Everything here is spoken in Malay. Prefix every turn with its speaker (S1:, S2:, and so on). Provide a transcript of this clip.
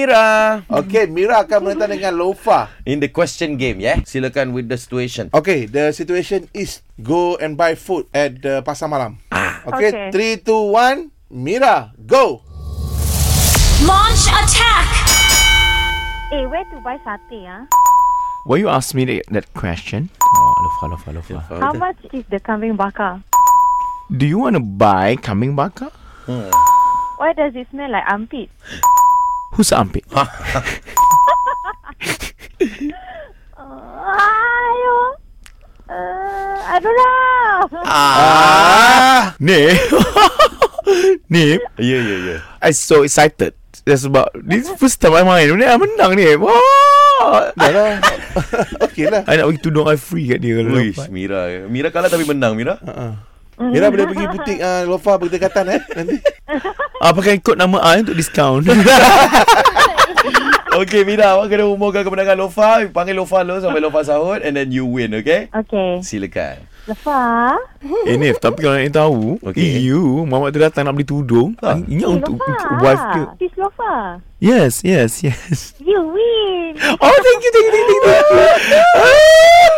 S1: Mira
S2: Okay, Mira akan menentang dengan Lofa.
S1: in the question game ya. Silakan with the situation.
S2: Okay, the situation is go and buy food at the pasar malam. Okay,
S3: Okay.
S2: three, two, one. Mira, go.
S4: Launch attack!
S3: Eh, where to buy satay ah?
S5: Why you ask me that, that question? Oh, alofa, alofa, alofa.
S1: Oh,
S3: How much is the kambing bakar?
S5: Do you want to buy kambing bakar?
S3: Why does it smell like armpit?
S5: Who's armpit?
S3: Ayo. Uh, I don't know.
S5: Ah, Nip, Nip,
S1: Ya ya ya.
S5: I so excited. That's about this first time I main. Ni I menang ni. Wah.
S2: Dah lah. okay lah.
S5: I nak bagi tudung I free kat dia kalau
S1: Uish,
S5: dapat.
S1: Mira. Mira kalah tapi menang Mira.
S2: Mira boleh pergi butik uh, Lofa berdekatan eh nanti.
S5: Ah, pakai kod nama I untuk discount.
S1: Okay Mira, awak kena umurkan kemenangan Lofa. Panggil Lofa dulu sampai Lofa sahut and then you win, okay?
S3: Okay.
S1: Silakan.
S3: Lefa.
S5: eh, Nif, tapi kalau nak tahu,
S1: Okay.
S5: okay. you, mamak tu datang nak beli tudung.
S1: Ah.
S5: Ingat
S3: Eh,
S5: untuk,
S3: Lofa.
S5: untuk wife dia.
S3: Sis Lofa.
S5: Yes, yes, yes.
S3: You win.
S5: Oh, thank you, thank you, thank you. Thank you.